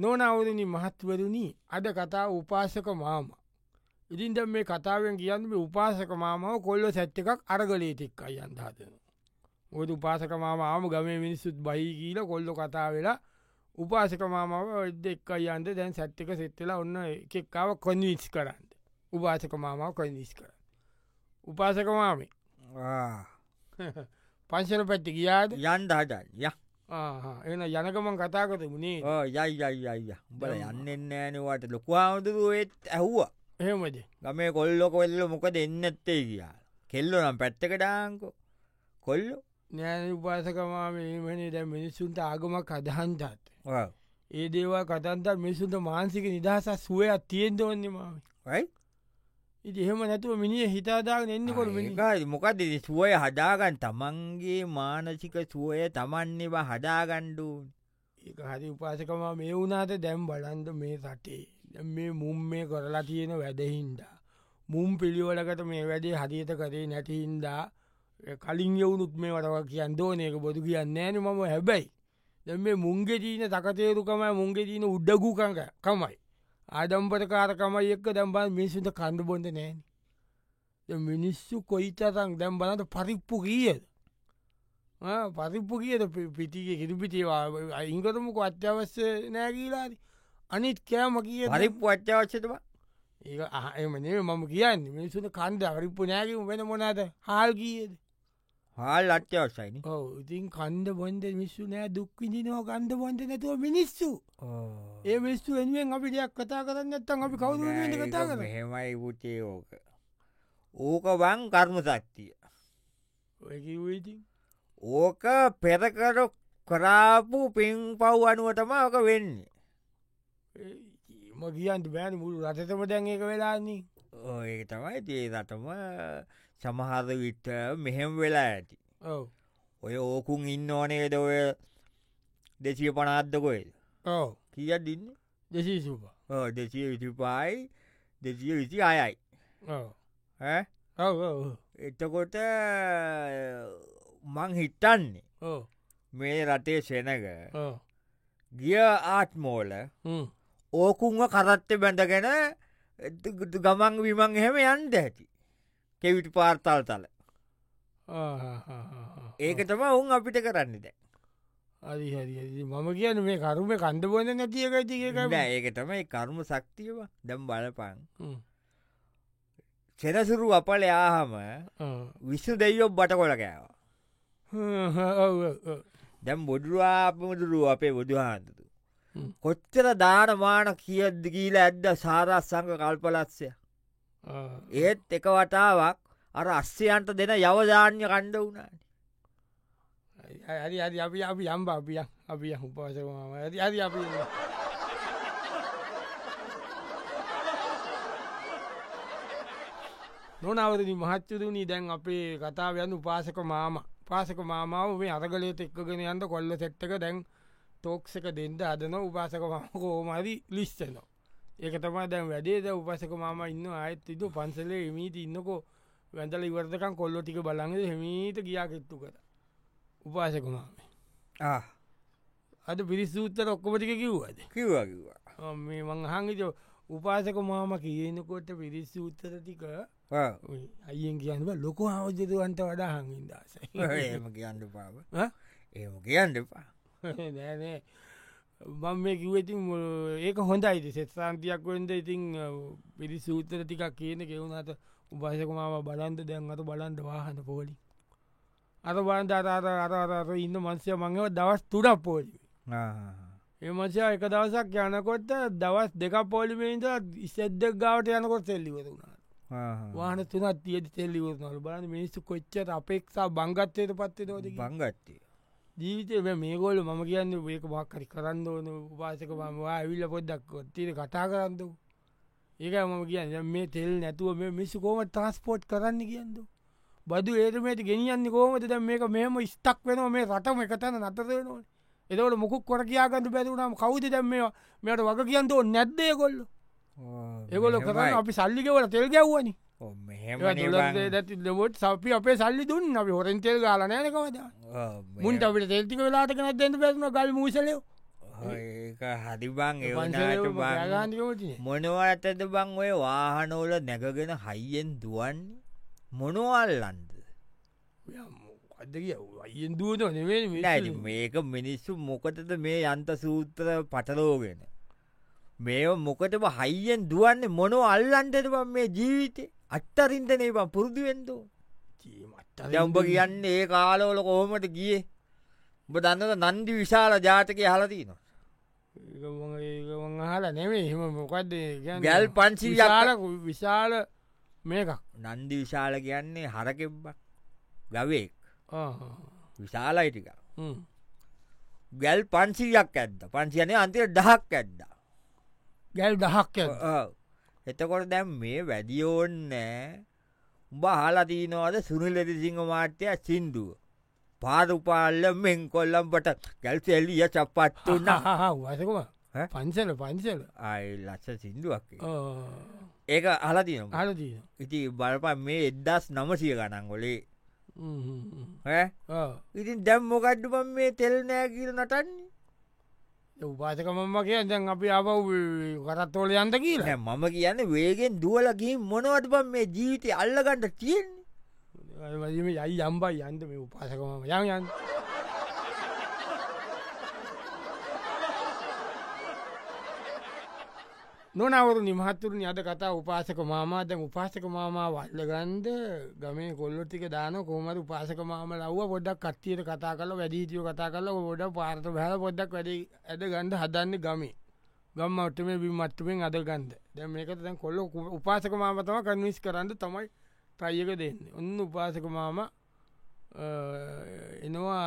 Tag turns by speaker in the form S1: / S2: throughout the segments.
S1: නොනවරණි මහත්වරුණි අද කතා උපාසක මාම. ඉරින්ද මේ කතාවෙන් කියන්න මේ උපාසක මාමාව කොල්ල සැට් එකක් අරගලේතෙක් අයි අන්දාතන. ඔද උපාසක මාම ආම ගමේ මිනිස්සුත් බහි කියීල කොල්ලො කතා වෙලා උපාසක මාමාව ඔද එක් අයන්ද දැන් සැට්ටික සෙට්ටලා ඔන්න එකෙක්කාව කොන්විස් කරන්න. උපාසක මාමාව කොන්විස් කර. උපාසක මාමේ පංශන පැත්ති කියාද
S2: යන්ඩ හටන් ය
S1: එන යනකමන් කතා කරමුණේ
S2: යයියයියය බල යන්නෙන් නෑනවට ලොකවාමුදුරුවත් ඇහ්වා
S1: එහෙමද
S2: ගමේ කොල්ලො කොල්ල මොක දෙන්න ඇත්තේ කියා කෙල්ලො නම් පැත්තකටාංකෝ කොල්ලො
S1: නෑන උපාසකමාමමනේ දැ මිනිස්සුන්ට ආගමක් අදහන්තත්. ඒ දේවල් කතන්ත මිනිසුන්ට මාන්සික නිදහස සුවයක් තියෙන් දවන්නේ මාම
S2: යි
S1: ඉති එහෙම නැතුව මිනිිය හිතාදාගෙන එන්නකොට මිනික
S2: ඒකයි මොකද ඉතින් සුවය හදාගන්න තමන්ගේ මානසික සුවය තමන්නවා හදාගණ්ඩු
S1: ඒක හරි උපාසකමා මේ වුනාට දැම් බලන්ද මේ සටේ දැන් මේ මුම් මේ කරලා තියෙන වැඩහින්දා. මුම් පිළිවලකට මේ වැඩේ හරිත කරේ නැතිහින්දා ඒ කලින් යවුනුත් මේ වටව කියන් දෝනයක බොදු කියන්න ෑන මම හැබැයි. දැ මේ මුන්ගේ ජීන තකතේරුකමයි මුන්ගේ ජීන උඩ්ඩගුකංක කමයි. ආදම්පට කාරකමයි එක්ක දැම්බල් මිනිසුට කණ්ඩ බොඳ නෑන. මිනිස්සු කොයිතරං දැම් බලට පරිප්පු කියද. පරිප්පු කියද පිටිය කිරිපිටේවා ඉංකරමක අත්‍යවශ්‍ය නෑගීලාරි අනිත් කෑම කිය
S2: පරිප්පු අච්චාවශ්‍යතවා
S1: ඒ ආයමනේ මම කියන්න මිනිසුන කන්ද පරිප්පු නෑකම වෙන මොනාද හාල් කියද.
S2: හාල් අච්‍යවශ්‍යයින
S1: ඔව ඉතින් කණ්ඩ බොන්ද මිස්සු නෑ දුක්විදිනෝ ගන්ඩ බොන්ද නැතුව මිනිස්සු ඒ මිස්සු එනුවෙන් අපි දෙයක් කතා කරන්න ඇත්තන් අපි කවුරු වෙනුවෙන්ද කතා කර
S2: හෙමයි පුටේ ඕක ඕක වං කර්ම සත්තිය
S1: ඔයකිවීති
S2: ඕක පෙරකර කරාපු පින් පව් අනුවටම ඕක වෙන්නේ
S1: ම කියන්ට බෑන මුළු රතතම දැන් ඒක වෙලාන්නේ
S2: ඕ ඒක තමයි තිේ රටම සමහර විට මෙහෙම වෙලා ඇති
S1: ඔව
S2: ඔය ඕකුන් ඉන්න ඕනේද ඔය දෙසිය පනාත්දකොයිද
S1: ඔව
S2: කියත් ඉන්න
S1: දෙසී සුපා
S2: දෙසිය විතිපායි දෙසිය විසි අයයි
S1: ඔව
S2: ඈ?
S1: ඔව ඔව
S2: එතකොට මං හිටන්නේ
S1: ඔව
S2: මේ රටේ සෙනග
S1: ඔව
S2: ගිය ආත්මෝල
S1: හ්ම්.
S2: ඕකුන්ව කරත්ත බැඳගෙන ගමන් විමං එහෙම යන්ද ඇති කෙවිට පාර්තල් තල
S1: ආහාහාහා.
S2: ඒක තම ඔවුන් අපිට කරන්න දැ
S1: හරි හරි හරි. මම කියන මේ කරුම කණ්ඩ බොන්න නැතියක තිකයි
S2: ඒක තමයි කර්ම සක්තියව දැම් බලපං සෙනසුරු අපල යාහම විශ්ු දෙයෝ බට කොල කෑවා
S1: 呃
S2: දැම් බොඩුරාපමුදුරුව අපේ බුදුහාන්දුතු
S1: හ්ම්.
S2: කොච්චර දානමාන කියද්ද කියීල ඇද්ද සාරස් සංක කල්පලත්සය
S1: 呃
S2: ඒත් එක වටාවක් අර අස්සයන්ට දෙන යවධාන්‍ය කණ්ඩ වුණාට
S1: හරි හරි අපි අපි යම්බ අපිය අපි උපාසකම ඇති හරි අපි ඉන්නවා. නොනවරදි මහච්චරුණී දැන් අපේ කතාව යන්න උපාසක මාම පාසක මාමාව මේ අරගලයට එක්කගෙන යන්ට කොල්ල සෙට්ටක දැන් තෝක්ෂක දෙන්ට අදන උපාසක මාකෝමරි ලිස්සන. ඒක තමා දැන් වැඩේද උපසක මාම ඉන්න අයත් ඉතු පන්සලේ එමීට ඉන්නකෝ වැඳල ඉවර්තකන් කොල්ලො ටික බලඟද හෙමීට ගියාකෙත්තු කර උපාසක මාමේ අද පිරිස්සූත්තර ඔක්කොමටික කිව්වද
S2: කිව්වා කිව්වා
S1: ආ, මේ මං හංගිත උපාසක මාම කියනකොට පිරිස්සූත්තර ටික
S2: ඔව්.
S1: ඔය අයියෙන් කියන්නව ලොක හවජතුවන්ට වඩා හඟින් දස
S2: එහෙම කියන්න පාව ඒම කියන්න එපා
S1: නෑනෑ මං මේ කිවති ඒක හොඳ අයිති සෙත්සාන්තියක් වෙන්ද ඉතිං පිරි සූතර ටිකක් කියන කෙවුණට උපාසකමාව බලන්ද දැන් අත බලන්ට වාහන පෝලි අර බලන්ට අතාර අරරර ඉන්න මංසය මංව දවස් තුඩක් පෝලි
S2: ආහ්.
S1: එමචා එක දවසක් යනකොට දවස් දෙක පෝලිමේන්ට ඉස්සෙද්දක් ගාවට යනකොට සෙල්ලිවරුණා
S2: ආහ්.
S1: වාහන තුනත් තියද තෙල්ලිවරනල බලන්න මිනිස්සු කොච්චට අපේක්ෂා බංගත්තයට පත්වේ නොද
S2: බංගත්තේ
S1: ජීවිතය මේගොල්ල මම කියන්න ඒක මක්කරි කරන්න ඕන උපාසක මවා ඇවිල්ල පොද්දක් තිර කතා කරන්න ඒක මම කියන්න දැන් මේ තෙල් නැතුව මේ මිස්සු කෝම ට්‍රස්පෝට් කරන්න කියන්නද බදු ඒරමයට ගෙනියන්න කෝමට දැ මේක මෙම ස්ටක් වෙනවා මේ රටම එකතන නතරෙන ඕන එතවට මොකුක් කොර කියාගන්න බැදුනම් කවුද දැම් මේවා මෙයට වග කියන්න ඕ නැද්දේ කොල්ල එකොල කරන්න අපි සල්ලිකවල තෙල් ගැව්වනි
S2: මෙහෙම
S1: ොට සපි අපේ සල්ලි දුන්න අපි හොරෙන්තෙල් ගාලනෑනකවද මුන්ට අපිට තෙල්තික වෙලාටක නැදන්න පැත්න ගල් මූසලයෝ
S2: ඒක හරිබං ඒවනාට බං
S1: ගාන්තිකමතින
S2: මොනව ඇතද බං ඔය වාහනෝල නැගගෙන හයියෙන් දුවන්නේ මොනවල්ලන්ද
S1: අද කිය අයෙන් දුවත නෙවේ
S2: ඉතින් මේක මිනිස්සු මොකටද මේ යන්ත සූත්‍ර පටලෝගෙන මේ මොකටම හයියෙන් දුවන්නේ මොනෝ අල්ලන්ටට බම් මේ ජීවිතේ අත්තරින්ටනේ බම් පුරුදුුවෙන්දෝ දැඋඹ කියන්න ඒ කාලවල කොහොමට ගිය උඹ දන්නද නන්දි විශාල ජාතකය හලතිනවා
S1: ඒමන් හලා නෙවේ එහම මොකක්ද
S2: ගැල් පන්සි
S1: විශාල විශාල මේකක්
S2: නන්දි විශාල කියන්නේ හරකෙබ්බක් ගවේක්
S1: ආ.
S2: විශාලයිටික
S1: හ්ම්.
S2: ගැල් පන්සිියක් ඇද්ද පන්සියනේ අන්තිට දහක් ඇද්දා
S1: ගැල් දහක් ඇද්ද?
S2: ඔව්. එතකොට දැම් මේ වැඩියෝන්නෑ උඹ හලතිනවාද සුනිලෙදි සිංහ මාර්තය සින්දුව. පාරුපාල්ල මෙන් කොල්ලම්ට ගැල්ස එල්ලිය චපත්තුන්න
S1: හා වසකම
S2: ඈ?
S1: පන්සල පන්සල
S2: අයි ලස්ස සිින්දුවක් ඒක. ඒක අලතින
S1: හරතිය
S2: ඉති බලපන් මේ එද්දස් නමසිය ගණන් ගොලේ ඉතින් දැම් මොකඩ්ඩුපන් මේ තෙල් නෑ කියල නටන්නේ
S1: උපාසකමම කිය දැන් අපි අප කරත්තෝල යන්ත කියලා
S2: නෑ මම කියන්න වේගෙන් දුවලගින් මොනවට පන් මේ ජීවිතය අල්ලගන්නට තියෙන්නේ
S1: වදීම යයි යම්බයි යන්ත මේ උපාසකමම යන් යන් නොනවරු නිමහත්තුරනි අද කතා උපාසක මාමා දැන් උපාසක මාමා වල්ලගන්ද ගමේ කොල්ලොත්තික දාන කොමට උපාසක මාම ලව්ව පොඩක් කත්තියට කතා කල වැඩීතිය කතා කල ොඩ පාර්ත හැල පොඩ්ඩක් වැඩ ඇද ගන්ඩ හදන්න ගමේ ගම් අටම බිමට්ටුවෙන් අද ගන්ද දැ මේකට දැන් කොල්ල උපාසක මාමතම කන්විස් කරන්න තමයි ටයික දෙන්න ඔන්න උපාසක මාම එනවා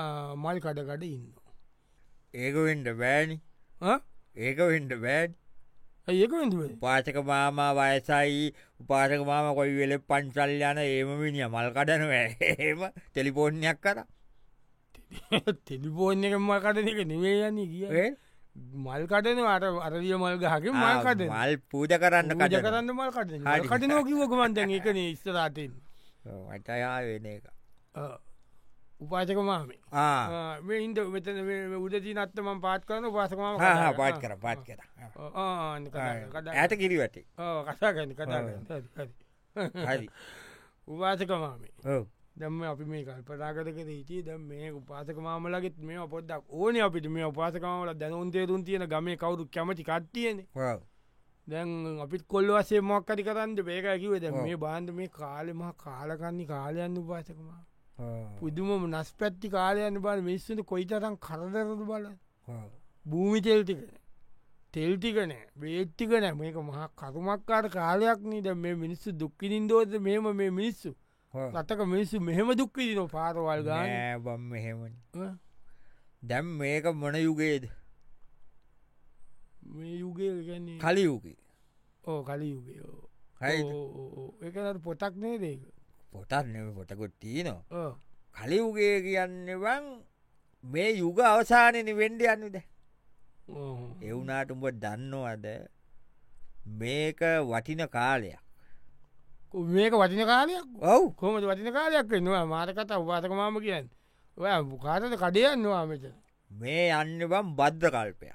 S1: මල් කඩකඩ ඉන්න
S2: ඒක වෙන්ඩ බෑනි ඒක වෙන්ඩ බෑඩ්
S1: ඒක වෙන්දුවේ
S2: උපාසක මාමා වයසයි උපාසක මාම කොයි වෙල පන්සල් යන ඒම මිනිිය මල් කඩනව ඒම තෙලිපෝර්ණයක් කර
S1: තෙලිපෝන් එක මල් කටන එක නිවේයන්න කිය
S2: ඒ?
S1: මල් කටන අට අරදිය මල් ගහක මල්
S2: ආ,
S1: කටන
S2: මල් පූජ කරන්න
S1: කජ
S2: කඩ
S1: කරන්න මල් කටන
S2: හරි.
S1: කට නොකිවකමන්ද එකන ස්තරාතයෙන්
S2: අටයා වෙන එක
S1: Uh, උපාසක මාමේ
S2: ආ,
S1: ආ, මේ ඉන්ද මෙතන උදති නත්තමන් පාත් කරන උපාසකමාව
S2: හා හා,
S1: Ah.
S2: පාට් කර පාට් කර
S1: Oh,
S2: ඇත කිරිවටේ
S1: කතා කන්න කතා
S2: හරි
S1: උපාසකමාමේ
S2: ඔව්.
S1: දැම අපි මේ කල්පනාකරක හිටිය දැම් මේ උපාසක මාමලගෙත් මේ පොඩ්ඩක් ඕන අපිට මේ උපාසකමල දැනුන්තේරුන් තියෙන ගම කවරු කැමති කට්ටියන
S2: ඔව්.
S1: දැන් අපිත් කොල්ල වසේ මොක්කරි කරන්න පේකැකිවද මේ බාන්ධ මේ කාලෙම කාලකන්නේ කාලයන්න උපාසකම
S2: ඔව්.
S1: පුදුම නස් පැත්ති කාලයන්න බල මිස්සුන කොයිතරම් කරදරතු බල
S2: ඔව්.
S1: භූමි තෙල්ටිකන තෙල්ටිකනෑ බේට්ටිකනෑ මේක මහා කරුමක්කාට කාලයක් නීද මේ මිනිස්සු දුක්කිනින් දෝද මෙම මේ මිනිස්සු
S2: ඔව්.
S1: රටක මිනිස්සු මෙහෙම දුක්කිදින පාරවල් ගාන
S2: නෑ බම් මෙහෙමනි දැම් මේක මොන යුගේද
S1: මේ යුගය ගැන්නේ
S2: කලියුගේ
S1: ඕ කලි යුගය ඕ.
S2: හයි
S1: ඕ, ඕ, ඕ. ඒකනට පොතක් නේ දේක
S2: පොටත්නම පොටකොත් තියනවා කලිවුගේ කියන්නවන් මේ යුග අවසානයන වෙන්ඩ යන්නද එවුනාට උඹ දන්නවද මේක වටින කාලයක්
S1: මේක වටින කාලයක්
S2: ඔව්
S1: කොමට වටින කාලයක් වෙනවා මාරකත උපාතක මාම කියන්න ඔය කාතට කඩයන්නවා මෙත
S2: මේ යන්න බම් බද්ධ කල්පයක්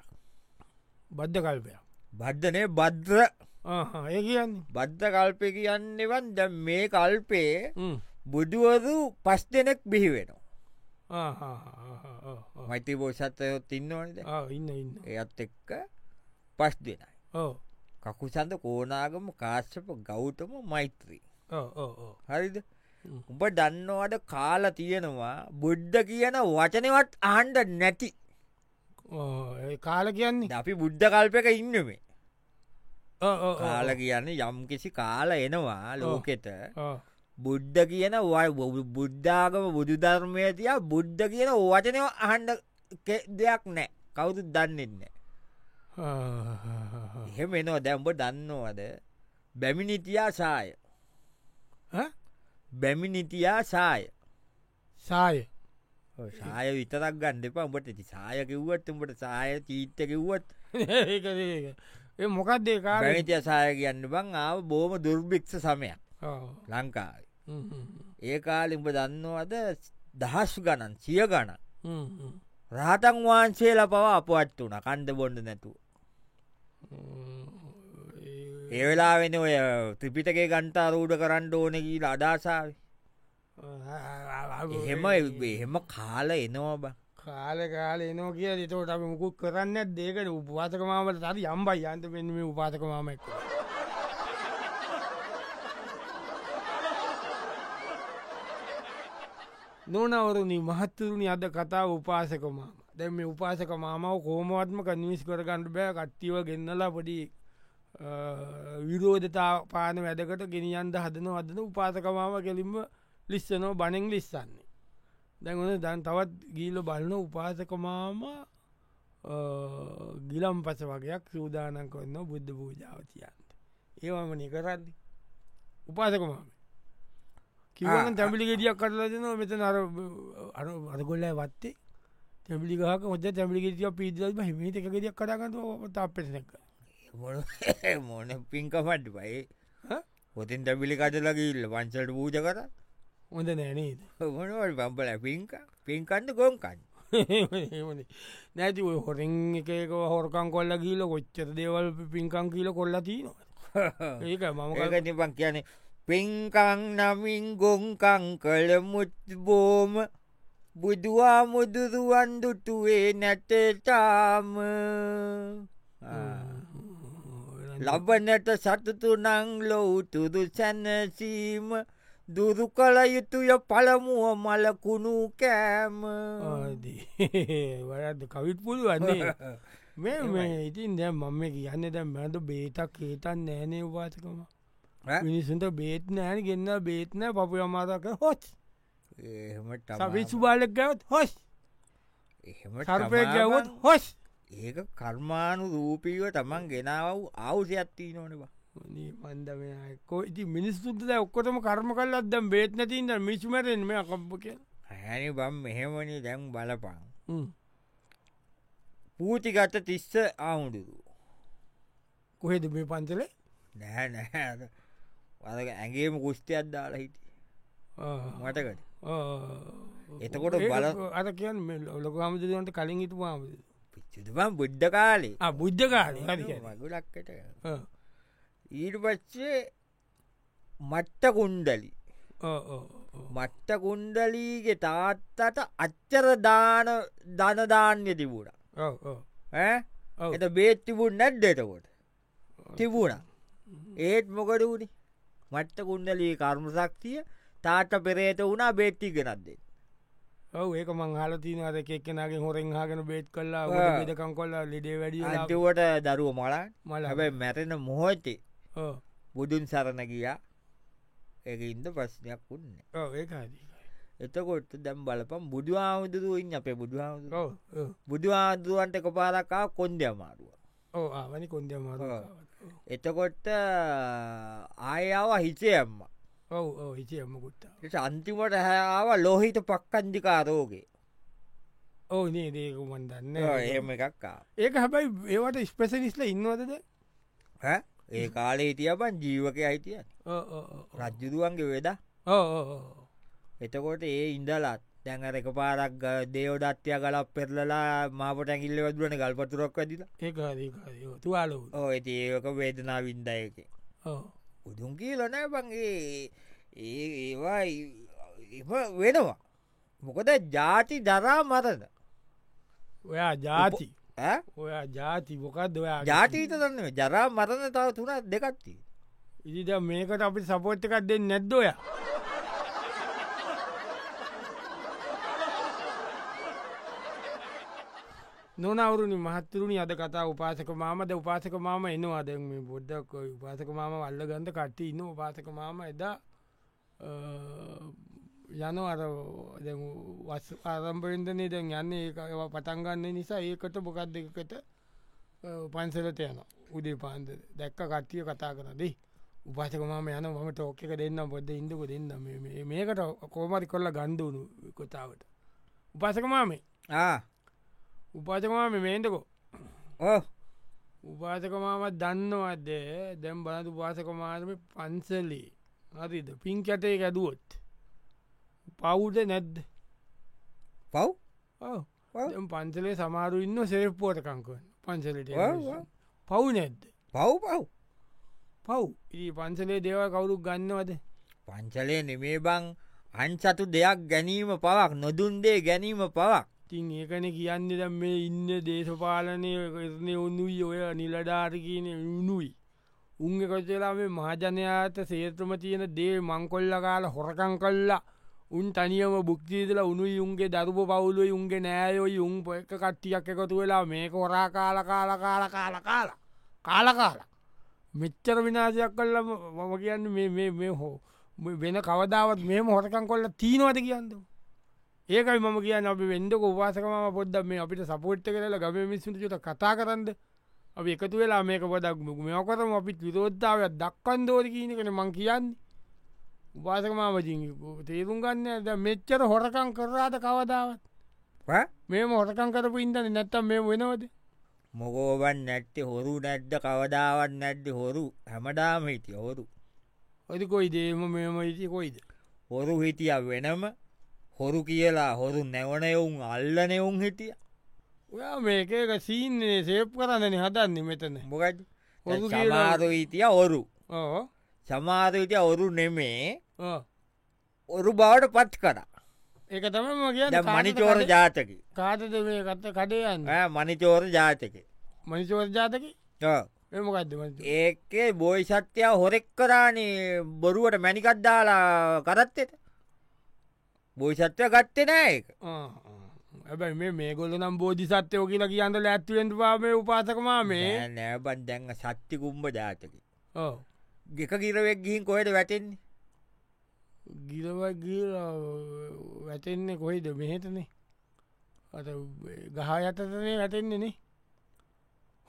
S1: බද්ධ කල්පයක්
S2: බද්ධනය බද්්‍ර
S1: ආහා, ඒ කියන්නේ
S2: බද්ධ කල්පය කියන්නවන් ද මේ කල්පේ
S1: හ්ම්.
S2: බුදුවරු පස් දෙනෙක් බිහි වෙනවා
S1: ආහා, ආහා, ආහා, ආහා.
S2: මෛති බෝෂත්තයොත් ඉන්නවනද
S1: ආ, ඉන්න ඉන්න
S2: එයත් එක්ක පස් දෙනයි
S1: ඕ
S2: කකුසඳ කෝනාගම කාශ්‍යප ගෞතම මෛත්‍රී
S1: ඕ, ඕ, ඕ.
S2: හරිද
S1: හ්ම්.
S2: උඹ දන්නවාට කාල තියෙනවා බුද්ධ කියන වචනවත් ආණ්ඩ නැති
S1: ඕ, ඒ කාල කියන්නේ
S2: අපි බුද්ධ කල්පක ඉන්න මේ
S1: ඕ, ඕ, ඕ,
S2: කාල කියන්න යම් කිසි කාල එනවා ලෝකෙත
S1: ඕ.
S2: බුද්ධ කියන වයි- බු- බුද්ධාගම බුදුධර්මය තියා බුද්ධ කියන වචනය අහන්ඩ දෙයක් නෑ කවුතු දන්නෙන්න
S1: ආහා.
S2: එහෙම එනවා දැම්ඹ දන්නවද බැමිනිිතියා සාය
S1: ඈ?
S2: බැමිනිිතියා සාය
S1: සාය
S2: සාය විතරක් ගන්න එපා උඹට ඉති සාය කිව්වත් උඹට සාය චීත්ත කිව්වත්
S1: ඒක ඒක. ඒ මොකක්ද ඒ කාල
S2: පැවිතිය සාය කියන්න බං ආව බෝම දුර්භික්ෂ සමයක්
S1: ඕ.
S2: ලංකායි
S1: හ්ම්, හ්ම්, හ්ම්.
S2: ඒ කාල උඹ දන්නවද දහස් ගණන් සිය ගණන්
S1: හ්ම්, හ්ම්.
S2: රහතන් වහන්සේලා පව අපවත් වුන කණ්ඩ බොඩ නැතුව. ඒවෙලා වෙන ඔය ත්‍රිපිටකේ ගන්තා රූඩ කරන්න ඕන කියීල අඩාසාාව එහෙම එහෙම කාල එනවා බ
S1: කාල කාල එනෝ කිය තෝට අපි මුකුත් කරන්න දේකට උපවාතකමාවට සරි යම්බයි යන්ත පෙන්ීම උපාතකමාමක් නොනවරුණි මහත්තුරුණි අද කතා උපාසකමාම දැම මේ උපාසකමාමාව කෝමවත්ම කනිවිස් කරගන්නට බෑ කට්ටිව ගෙන්නලා පොඩි විරෝධතා පාන වැඩකට ගෙනියන්ට හදන අදන උපාසකමාව කෙලින්ම ලිස්සනෝ බනෙන් ලිස්සන්නේ දැන්වන දැන් තවත් ගීල බලන උපාසකමාම ගිලම් පස වගේයක් සූදානන් කොන්න බුද්ධ පූජාවතියන්ට ඒවම නිකරන්න උපාසකමාම කිවන
S2: ආ.
S1: තැමිලි ගෙටියක් කරලදන මෙත අර අර අරගොල්ල වත්තේ තැමිලිගහක මොද තැමිගිටිය පිදල්ම හිමිට එක ගෙටියක් කරගන්න තාපෙසක
S2: මොන පින්කමට් බයි
S1: හ?
S2: හොතින් ටැබිලි කටලකිල්ල වංසට පූජ කර
S1: හොඳ නෑනේද
S2: මොනවට බම්බල පින්ක පින්කන්න ගොන්කන්න
S1: ඒමනේ. නැති ඔය හොරින් එකක හොරකං කොල්ල කියීල කොච්චර දේවල් පින්කං කියීල කොල්ලා තියනවා ඒක මම
S2: මොකගතිපක් කියන පින්කං නමින් ගොංකං කළ මුත්බෝම බුදුවා මුදුරුවන් දුටුවේ නැටටාම ලබනට සතුතුනං ලොවතුදු සැනසීම දුරු කළ යුතුය පළමුුව මලකුණු කෑම
S1: වරද කවිට් පුලු වන්නේ මේ මේ ඉතින් දැ මම කියන්න දැ මැද බේතක් ඒතන් නෑනේ වාතකම මිනිසුන්ට බේත් නෑන ගෙන්න්න බේත්න පපු අමාතක හොත්
S2: එහෙමට
S1: සවිසු බාලක් ගැවත් හොස්
S2: එහෙමට
S1: සර්පය ගැවත් හොස්
S2: ඒක කර්මාණු රූපීව තමන් ගෙනාව අවුසයක්ත්තිී නොනවා
S1: මන්දමයකෝ ඉති මිනිස්සුන්ට දැ ඔක්කොටම කර්ම කල්ලත් දැම් බේත් නැතින්ද මිසුමරෙන් මේ කම්ප කිය
S2: හැනි බම් මෙහෙමනි දැන් බලපං පූතිගත තිස්ස ආමුඩුරු
S1: කොහෙද මේ පන්සලේ
S2: නැහැ නැහැ වදක ඇගේම කුෂ්ටයක් දාලා හිට
S1: ආ.
S2: මටකට
S1: ආ.
S2: එතකොට
S1: ඒක
S2: බල-
S1: අර කියන් ලොක හමුදුරුවන්ට කලින් හිටපු හමුද
S2: පිච්චුතුබම් බුද්ධ කාලේ
S1: බුද්ධ කාල
S2: මගුලක්කට ඊට පච්චේ මට්ට කුන්්ඩලි මට්ට කුන්්ඩලීගේ තාත්තට අච්චර දාන ධනදාන්‍ය තිබුණ
S1: ඔව්.
S2: එත බේත් තිබුණ නැඩ් එතකොට තිබුණ ඒත් මොකඩ වුණි මට්ට කුන්්ඩලී කර්ම සක්තිය තාට පෙරේත වුණා බේට්ටි ගෙනක්දේ
S1: ඔව ඒක මංහල තිනද කෙක්කෙනගේ හොරෙන් හගෙන බේත් කල්ලා
S2: ආ.
S1: දකම් කොල්ලා ලෙඩේ වැඩිය
S2: අන්තිවට දරුව මලා
S1: මල
S2: හැබැයි මැරෙන මොහොතේ බුදුන් සරණ ගියා ඒක ඉන්ද ප්‍රශ්නයක් වන්න
S1: ඒකාද
S2: එතකොට දැම් බලපම් බුදු ආමුදුරුව ඉන්න අපේ බුදු ආමුදුර බුදු ආදුරුවන්ට එක පාරකා කොන්ද අමාරුව
S1: ඕ ආවනි කොන්ද මාර
S2: ඔව්. එතකොට ආයාව හිසේ අම්ම
S1: ඔව ඕ හිචයම්මකුත්තා
S2: අන්තිමට හැාව ලොහිත පක්කන්දිිකාරෝගේ
S1: ඕ නේ දේක මන්දන්න
S2: එහෙම එකක්කා
S1: ඒක හැබයි ඒවට ස්පෙසලිස්ල ඉන්නවදද
S2: ඒ කාලේ හිටියබන් ජීවක අයිතිය
S1: ඕ ඕ ඕ.
S2: රජ්ජුරුවන්ගේ වෙද
S1: ඕ ඕ ඕ.
S2: එතකොට ඒ ඉඳලත් දැඟර එක පාරක් ග- දේවදත්වය ගලක් පෙරලලා මාපට ඇකිල්ල වදුවන ගල්පතුරොක් ඇදිල
S1: ඒකාදකාදෝ තුවාලෝ
S2: ඕ ඇති ඒක වේදනා වින්දයක උදුන් කියලනෑ බන්ගේ ඒ ඒවා යි- එම වෙනවා මොකද ජාති දරා මරද
S1: ඔයා ජාති
S2: ඈ?
S1: ඔයා ජාති මොකක්ද ඔයා
S2: ජාතීත දන්න ජරා මරණ තව තුනත් දෙකත්ති
S1: ඉදිට මේකට අපි සපෝට් එකක් දෙන්න නැද්දෝය නොනවරුණි මහත්තුරුණි අද කතා උපාසක මාමද උපාසක මාම එනවා දැන් මේ බොද්ධක් උපාසක මාම වල්ල ගන්ධ කට්ටි ඉන්න උපාසක මාම එදා අ, යන අර දැන් වස් ආරම්පරෙන්දනේ දැන් යන්න ඒ ඒවා පටන්ගන්න නිසා ඒකට බොකක් දෙකට පන්සලට යන උදේ පාන්දර දැක්ක කට්ටිය කතා කරදේ උපාසකමම යන මම ටෝක එක දෙන්න බොද්ධ ඉදක දෙන්න මේ- මේ- මේකට කෝමරි කොල්ල ගන්ඩුණු කොතාවට උපාසකමාමේ උපාසකමාම මේන්ටකෝ
S2: ඕ
S1: උපාසකමාමත් දන්නවත්ද දැම් බලතු උපාසකමාම පන්සලේ හරිද පින් කැටේ ඇදුවොත් පවුද නැද්ද
S2: පව්
S1: ඔව්. දැන් පන්සලේ සමාරු ඉන්න සේප්පුවටකංකන් පන්සලට
S2: ඔව්, ඔව්.
S1: පව් නැද්ද
S2: පව් පව්
S1: පව් ඒ පන්සලේ දේවල් කවුරුක් ගන්නවද
S2: පංචලය නෙමේ බං අන්සතු දෙයක් ගැනීම පවක් නොදුන්දේ ගැනීම පවක්
S1: තින් ඒකන කියන්න ද මේ ඉන්න දේශපාලනය කරනය ඔන්නුයි ඔය නිලඩාරකන උනුයි උන් කොච්චලා මේ මහජනයාත සේත්‍රම තියෙන දේ මංකොල්ල කාල හොරකං කල්ලා උන් තනියම බුක්තිීදල උනුයි උන්ගේ දරුප පවුලුව උන්ගේ නෑයෝයි උන් පො එක කට්ටියක් එකතු වෙලා මේක හොරා කාල කාල කාල කාල කාල කාලකාල මෙච්චර විනාශයක් කල්ල මම කියන්න මේ- මේ මේ හෝ මේ වෙන කවදාවත් මෙම හොරකං කොල්ල තිීනවද කියන්නතු ඒකයි මම කියන්න අපි වෙන්ඩක උවාසකම පොද්ද මේ අපිට සපෝට්ට කරලා ගම මිස්සුට කතා කරන්න අපි එකතු වෙලා මේක පොදක් මෙකරම අපිත් විරෝද්ධාවයක් දක්කන් දෝර කියන කන මං කියන්න උපාසකමාම තේරුම් ගන්න ඇද මෙච්චර හොරකං කරාට කවදාවත්
S2: ඈ?
S1: මේ හොරකං කරපු ඉන්දන්න නැත්තම් මේ වෙනවද
S2: මොකෝවන් නැට්ටේ හොරු නැද්ද කවදාවත් නැද්ද හොරු හැමදාම හිටිය හොරු
S1: ඔති කොයි දේම මෙම ඉති කොයිද
S2: හොරු හිටිය වෙනම හොරු කියලා හොරු නැවනයවුන් අල්ලනෙවුන් හිටිය
S1: ඔයා මේකක සීන්නේ සේප් කරන්නන හදන්නේ මෙතන
S2: මොකද
S1: හොරු කියලා-
S2: සමාරු හිටිය හොරු
S1: ඕ
S2: සමාරු හිටිය හොරු නෙමේ
S1: ඕ.
S2: ඔරු බවට පත් කර
S1: ඒක තමම කියන්න
S2: මනිචෝර ජාතක
S1: කාතද මේ කත කඩයන්න
S2: මනිචෝර ජාතක
S1: මනිසවර ජාතක එමකක්ද මත
S2: ඒකේ බෝයි සත්‍යයා හොරෙක් කරානේ බොරුවට මැනිකද්දාලා කරත්තෙට බොයි සත්‍යය ගත්තේ නෑ එක
S1: ඇබයි මේ මේගොල නම් බෝධි සත්‍යයෝ කියලා කියන්නල ඇත්තුවෙන්ට පාමේ උපාසකමා මේ
S2: නෑ නෑබන් දැන්ග සත්ති කුම්ඹ ජාතක
S1: ඕ
S2: ගෙක කිරවෙක් ගිහින් කොහෙට වැටෙන්නේ
S1: ගිලව ගිල වැටෙන්නේ කොයිද මෙහෙතනේ අත ගහ අතතනේ වැටෙන්නේනේ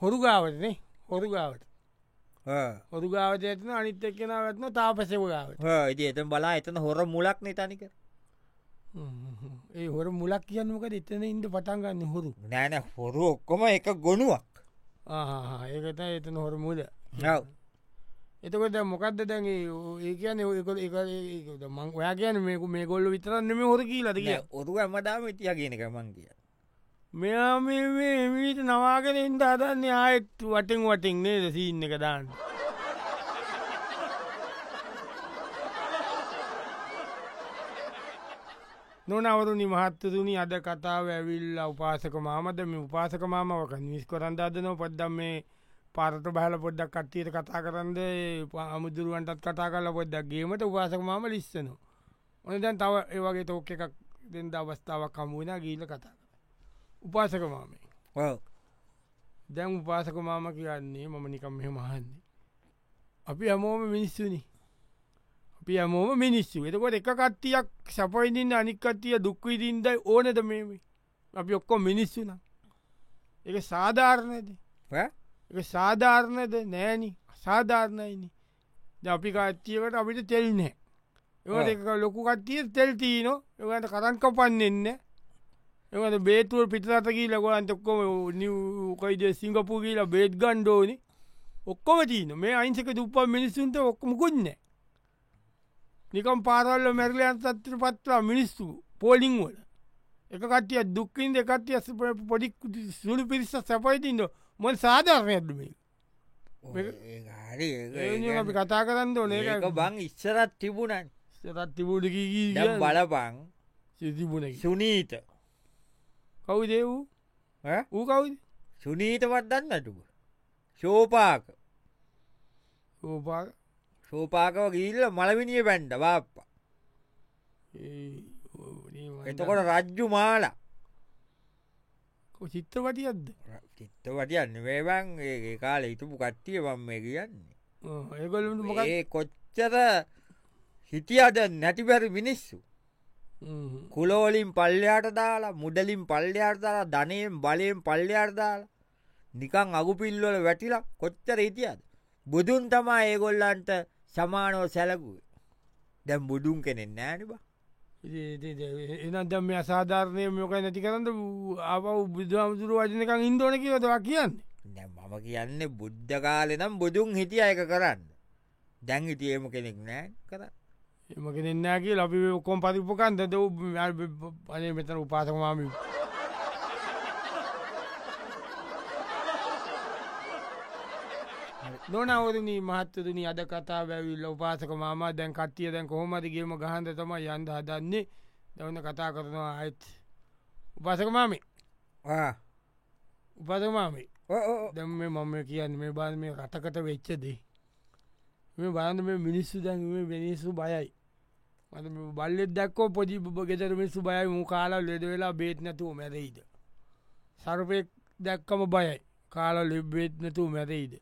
S1: හොරු ගාවටනේ හොරු ගාවට
S2: හ්ම්.
S1: හොරු ගාවට ඇතන අනිත් එක්කෙන වැත්න තාපසෙව ගාවට
S2: හ්ම්. ඉතින් එතන බලා එතන හොර මුලක් නතනික
S1: ඒ හොර මුලක් කියන්නකට එතන ඉන්ට පටන්ගන්න හොරු
S2: නෑන හොරු ඔක්කොම එක ගොනුවක්
S1: ඒකත එතන හොර මුල
S2: නව්.
S1: එතකොට මොකක්ද දැන් ඒ- ඒ කියන එක මං ඔයා කියන මේක මේ ගොල්ල විතරන්නම හොර කියීලද කිය
S2: නෑ, ඔරු ඇමදාම ඉතිය කියනක මං කිය
S1: මෙයා මේ- මේ මීට නවාගෙන ඉන්ට අදන්න ආයෙත් වටෙන් වටෙන් නේද සීන්න එක දාන්න නොනවරුනි මහත්තතුනි අද කතාව ඇවිල්ල උපාසක මාමද මේ උපාසක මාමක නිස් කරන්ද අදනෝ පොද්දම් මේ පාරට බහල පොඩ්ඩක් කට්ටියට කතා කරන්න අමුදුරුවන්ටත් කතා කල පොද්දක් ගේීමට උපාසක මාම ලිස්සනවා ඕන දැන් තව ඒවගේ තෝක එකක් දෙන්ද අවස්ථාවක් හමුවෙන ගීල කතා කර. උපාසක මාමේ දැන් උපාසක මාම කියන්නේ මම නිකම් මෙ මහන්නේ අපි හමෝම මිනිස්සුනි අපි හමෝම මිනිස්සු එතකොට එක කට්ටියක් සපයිදින්න අනිකත්තිය දුක්විදින්දයි ඕනද මේමේ අපි ඔක්කො මිනිස්සුන එක සාධාරණයද එක සාධාරණයද නෑනි සාධාරණයිනි ද අපි කච්චියකට අපිට තෙල් නෑ ඒවට එක ලොකු කට්ටිය තෙල් තිීන ඒකට කරන් කපන්නෙන්න ඒකට බේතුව පිටරතකී ලකොලන් ඔක්කොම නිකයිද සිංගපු කියලා බේත් ගණ්ඩෝනි ඔක්කොම තිීන මේ අයින්සක දුප්පා මිනිස්සුන්ට ඔක්කමකුන්න නිකම් පාරල්ල මැරලයන් සත්‍ර පත්වා මිනිස්සු පෝලිං වල එක කටිය දුක්කින් දෙකටිය පොඩි සුළු පිරිස සැපයිතින්න මොන් සාධාරණයටමේ
S2: හරි
S1: ඒ අපි කතා කරන්න ඕන
S2: ඒක බං ඉස්සරත් තිබුණන්
S1: රත්තිබූඩකී
S2: දැම් බලපං
S1: සිතිබුණ
S2: සුනීත
S1: කවු දේවූ
S2: ඈ?
S1: ඌ කවුද
S2: සුනීතවත් දන්නටුව ශෝපාක
S1: ඕපා
S2: ශෝපාකව ගිල්ල මලවිනිිය බැන්ඩ බාප්පා එතකොට රජ්ජු මාලා
S1: චිත්‍රපටියක්ද
S2: චිත්ත වටියන්න වේවන් ඒ කාල හිටපු කට්ටිය බම්ම කියන්නේ
S1: ඒකොලට මොක
S2: ඒ කොච්චර හිටියද නැතිබැරි මිනිස්සු කුලෝලින් පල්ලයාට දාලා මුඩලින් පල්ලයාට දාලා ධනයෙන් බලයෙන් පල්ලයාට දාලා නිකං අගුපිල්වල වැටිලා කොච්චර හිටියද බුදුන් තමා ඒගොල්ලන්ට සමානෝ සැලකුව දැම් බුදුන් කෙනෙක් නෑනිබ
S1: එනත් දම් මේ අසාධාරණය මොක නැති කරන්න අප බුදුහමුදුරු වජනකං ඉන්දෝන කියවතවා කියන්න
S2: දැන් මම කියන්න බුද්ධ කාලෙනම් බුදුන් හිටිය අයක කරන්න දැන් හිටියම කෙනෙක් නෑ කර
S1: එම කෙනෙන්නගේ ලබි කොම් පතිපකන්දද පනේ මෙතන උපාසකමාම නොනවරණී මහත්තතුනි අද කතා වැැවිල් උපාසක මාම දැන් කට්ටිය දැන් කොහොමදගේම ගහන්ද තම යන්ද හදන්නේ දවන කතා කරනවා අයත් උපසක මාමේ උපසක මාමේ දැම් මේ මම කියන්න මේ බාල මේ රටකට වෙච්චදේ මේ බාන්ද මේ මිනිස්සු දැන් මේ මිනිස්සු බයයි මට බල්ලෙ දක්කෝ පොජි ගෙතර මිස්සු බයයි මු කාලා ලෙද වෙලා බේත් නැතුව මැරයිද සර්පයෙක් දැක්කම බයයි කාල ලෙබ්බේත් නැතු මැරයිද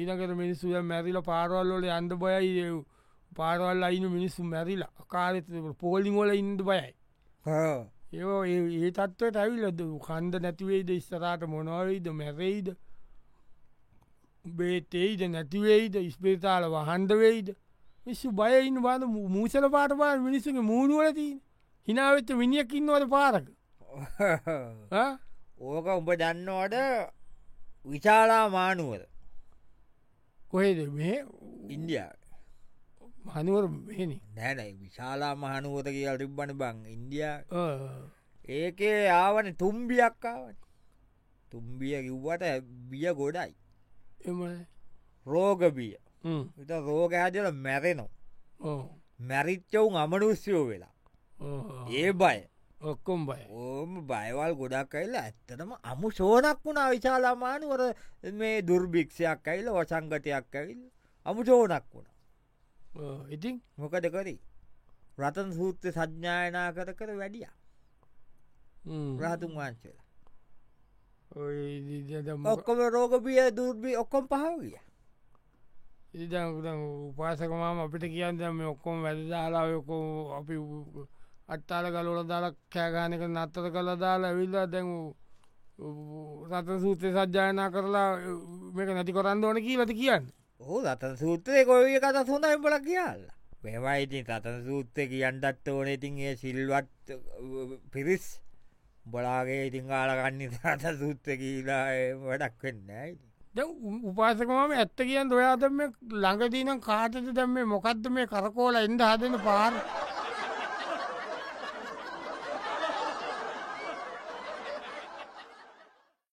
S1: ඊනකට මිනිස්සු මැරිල පාරවල්ලොල අන්ඩ බයයි ඒ පාරවල් අයින මිනිස්සු මැරිලා කාරෙත පෝලිංවල ඉන්ඩ බයයි ඒ ඒ තත්ව ඇවිලද කන්ද නැතිවේද ඉස්සරාට මොනවයිද මැරයිද බේතෙයිද නැතිවෙයිද ඉස්පේතාල වහන්ඩවෙයිද විශ්ු බයයින්න බාද මූසල පාට පාල මිනිස්සුගේ මූුණුවලතින් හිනාවෙච්ච මිනිියකින්නවද පාරක ආ?
S2: ඕක උඹ දන්නවට විශාලා මානුවර
S1: කොහෙද මේ
S2: ඉන්දියා
S1: මනුවර මෙනි
S2: නෑනයි විශාලා මහනුවත කියල් තිබ්බන බං ඉන්දියා ඒකේ ආවන තුම්බියක්කාවන තුම්බිය කිව්වට බිය ගොඩයි
S1: එම
S2: රෝගබිය විත රෝග ඇදල මැරෙනෝ මැරිච්චවුන් අමනුස්්‍යයෝ වෙලා ඒ බය
S1: ඔක්කොම් බය
S2: ඕම බයවල් ගොඩක් ඇල්ලා ඇත්තටම අමු සෝනක් වුණා විශාලා මානුවර මේ දුර්භික්ෂයක් ඇල්ල වසංගතයක් ඇවිල් අමු සෝනක් වුණ
S1: ඕ, ඉතින්
S2: මොකද කරී රතන් සූත්‍ර සඥායනා කර කර වැඩිය
S1: හ්ම්.
S2: රාතුන් වහන්සේලා
S1: ඔය ඉතින් දැන්
S2: ඔක්කොම රෝගබිය දුර්බි ඔක්කොම් පහවිය
S1: ඉතින් දැන් උපාසකමම අපිට කියන්න දැන් මේ ඔක්කොම වැදදාලායකෝ අපි අත්තාල කලොල දාලක් කෑගානක නත්තර කළ දාලා ඇවිල්ලා දැන් රත සූත්‍රය සජ්ජායනා කරලා මේක නැති කොරන්න ඕන කියීලට කියන්න
S2: ඕ රතන සූත්‍රය කොවිය කත සොඳ එම්බල කියල්ල මෙවා ඉතින් රතන සූත්‍රය කියන්නත් ඕන ඉතින් ඒ සිල්වත් අ, පිරිස් බොලාගේ ඉතිං ආලගන්න රත සූත්‍ර කියලා ඒ වැඩක් වෙන්න ඉතින්.
S1: දැ උපාසකමම ඇත්ත කියන්න ඔයාද මේ ළඟදීනම් කාතද දැම් මේ මොකක්ද මේ කරකෝල එන්ඩ හදන පාර